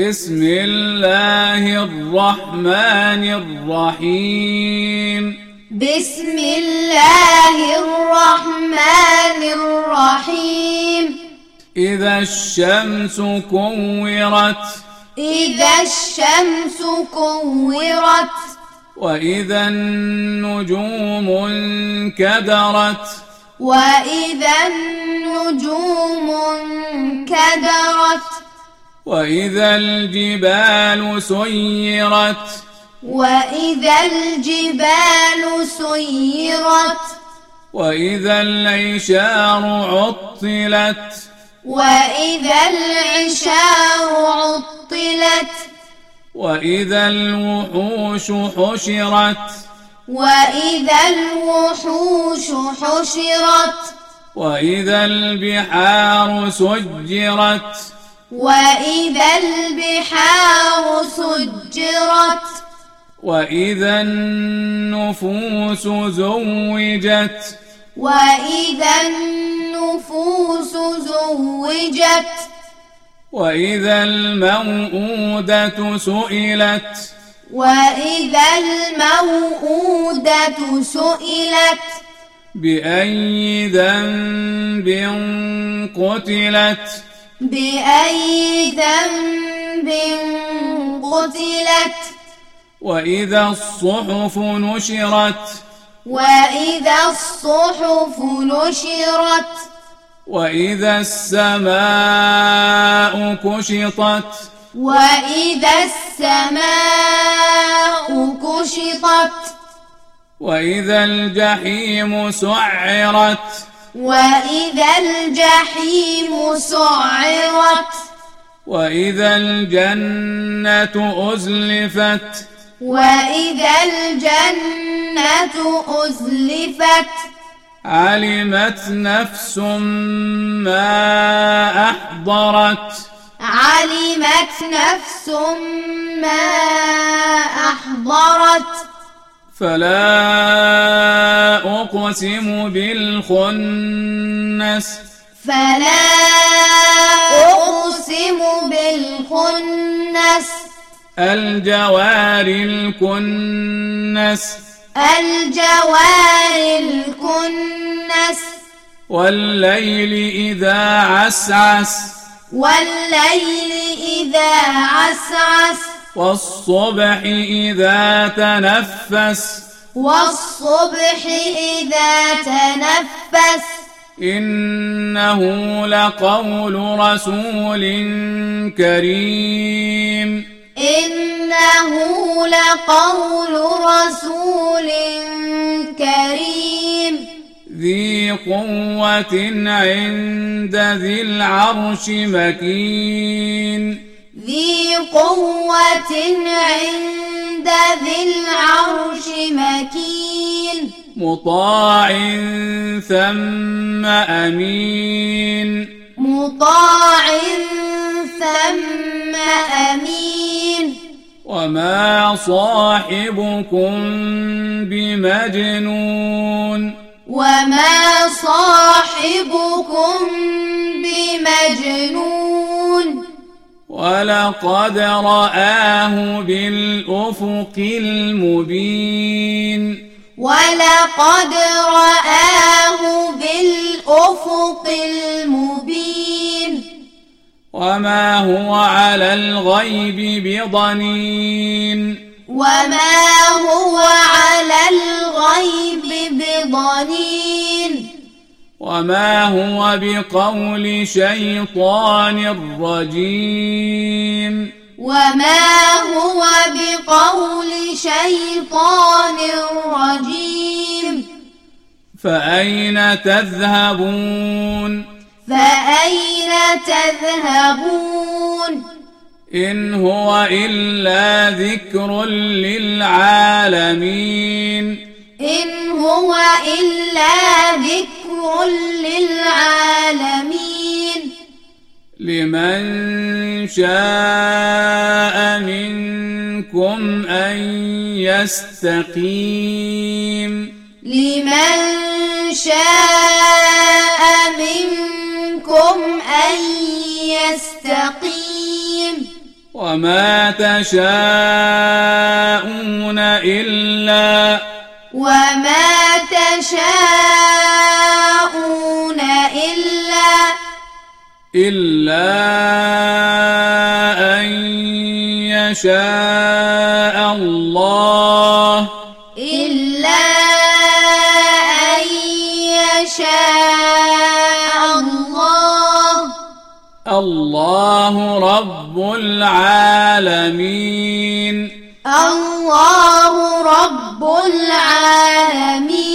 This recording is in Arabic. بسم الله الرحمن الرحيم بسم الله الرحمن الرحيم إذا الشمس كورت إذا الشمس كورت وإذا النجوم انكدرت وإذا النجوم انكدرت وإذا الجبال سيرت وإذا الجبال سيرت وإذا العشار عطلت وإذا العشار عطلت وإذا الوحوش حشرت وإذا الوحوش حشرت وإذا البحار سجرت وإذا البحار سجرت وإذا النفوس زوجت وإذا النفوس زوجت وإذا الموءودة سئلت وإذا الموءودة سئلت بأي ذنب قتلت بأي ذنب قتلت وإذا الصحف نشرت وإذا الصحف نشرت وإذا السماء كشطت وإذا السماء كشطت وإذا الجحيم سعرت وإذا الجحيم سعرت وإذا الجنة أزلفت وإذا الجنة أزلفت علمت نفس ما أحضرت علمت نفس ما أحضرت فلا أقسم بالخنس فلا أقسم بالخنس الجوار الكنس الجوار الكنس والليل إذا عسعس والليل إذا عسعس والصبح إذا تنفس والصبح إذا تنفس إنه لقول رسول كريم إنه لقول رسول كريم ذي قوة عند ذي العرش مكين ذي قوة عند ذي العرش مكين مطاع ثم أمين مطاع ثم أمين وما صاحبكم بمجنون وما صاحبكم بمجنون ولقد رآه بالأفق المبين ولقد رآه بالأفق المبين وما هو على الغيب بضنين وما هو على الغيب بضنين وما هو بقول شيطان رجيم وما هو بقول شيطان رجيم فأين تذهبون فأين تذهبون إن هو إلا ذكر للعالمين إن هو إلا ذكر للعالمين لمن شاء منكم أن يستقيم لمن شاء منكم أن يستقيم ومن وما تشاءون إلا وما تشاءون إلا إلا أن يشاء الله إلا أن يشاء الله الله رب العالمين الله رب العالمين